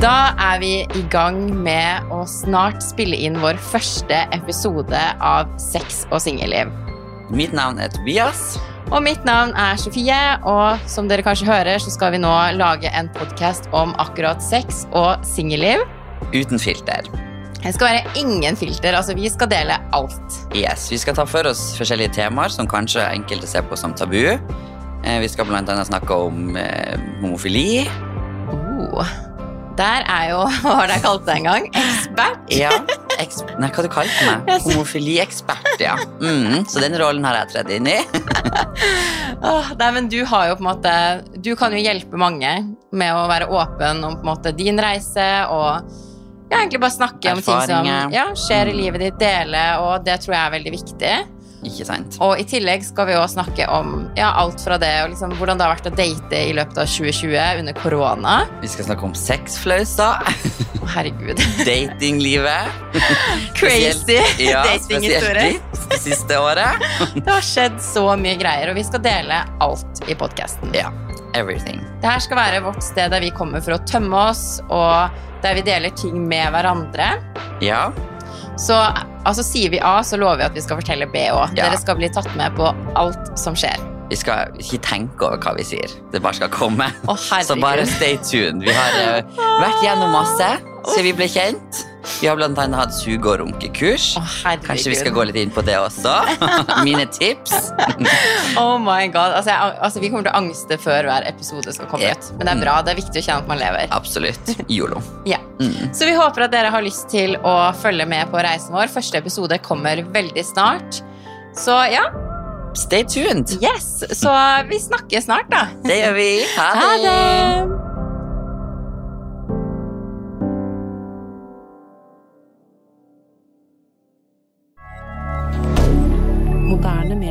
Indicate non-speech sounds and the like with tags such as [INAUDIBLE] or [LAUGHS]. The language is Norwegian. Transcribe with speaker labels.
Speaker 1: Da er vi i gang med å snart spille inn vår første episode av Sex og singelliv.
Speaker 2: Mitt navn er Tobias.
Speaker 1: Og mitt navn er Sofie, og som dere kanskje hører, så skal vi nå lage en podkast om akkurat sex og singelliv.
Speaker 2: Uten filter.
Speaker 1: Det skal være ingen filter, altså vi skal dele alt.
Speaker 2: Yes, Vi skal ta for oss forskjellige temaer som kanskje enkelte ser på som tabu. Eh, Vi skal blant annet snakke om eh, homofili.
Speaker 1: Oh. Der er jo, [LAUGHS] hva var det jeg kalte deg en gang? Ekspert.
Speaker 2: Ja, eks Nei, hva du kalte du meg? Homofiliekspert, ja. Mm, så den rollen har jeg tredd inn i.
Speaker 1: Åh, Ah, nei, men du har jo på en måte Du kan jo hjelpe mange med å være åpen om på en måte din reise og ja, egentlig bare snakke om ting som
Speaker 2: Erfaringer.
Speaker 1: ja, skjer i
Speaker 2: Mm.
Speaker 1: livet ditt, dele, og det tror jeg er veldig viktig.
Speaker 2: Ikke sant?
Speaker 1: Og i tillegg skal vi jo snakke om ja, alt fra det og liksom hvordan det har vært å date i løpet av 2020 under korona.
Speaker 2: Vi skal snakke om sexflauser,
Speaker 1: Å, herregud. [LAUGHS]
Speaker 2: datinglivet.
Speaker 1: Crazy
Speaker 2: Spesielt- ja,
Speaker 1: datinghistorie.
Speaker 2: spesielt Det siste året.
Speaker 1: Det har skjedd så mye greier, og vi skal dele alt i podkasten.
Speaker 2: Ja. Everything.
Speaker 1: Det her skal være vårt sted der vi kommer for å tømme oss, og der vi deler ting med hverandre.
Speaker 2: Ja.
Speaker 1: Så altså, sier vi A, så lover vi at vi skal fortelle B òg.
Speaker 2: Ja.
Speaker 1: Dere skal bli tatt med på alt som skjer.
Speaker 2: Vi skal ikke tenke over hva vi sier. Det bare skal komme.
Speaker 1: Å,
Speaker 2: Så bare
Speaker 1: herregud.
Speaker 2: stay tuned. Vi har eh, vært gjennom masse siden vi ble kjent. Vi har blant annet hatt suge- og runkekurs.
Speaker 1: Å, herregud.
Speaker 2: Kanskje vi skal gå litt inn på det også? [LAUGHS] Mine tips.
Speaker 1: Oh my god. Altså, jeg, altså, vi kommer til å angste før hver episode skal komme
Speaker 2: Ja.
Speaker 1: ut. Men det er bra. Det er viktig å kjenne at man lever.
Speaker 2: Absolutt. Yolo.
Speaker 1: Ja.
Speaker 2: Mm.
Speaker 1: Så vi håper at dere har lyst til å følge med på reisen vår. Første episode kommer veldig snart. Så ja,
Speaker 2: Stay tuned.
Speaker 1: yes. Så vi snakkes snart, da.
Speaker 2: Det gjør vi. Ha
Speaker 1: Ha
Speaker 2: det.
Speaker 1: det!
Speaker 3: Moderne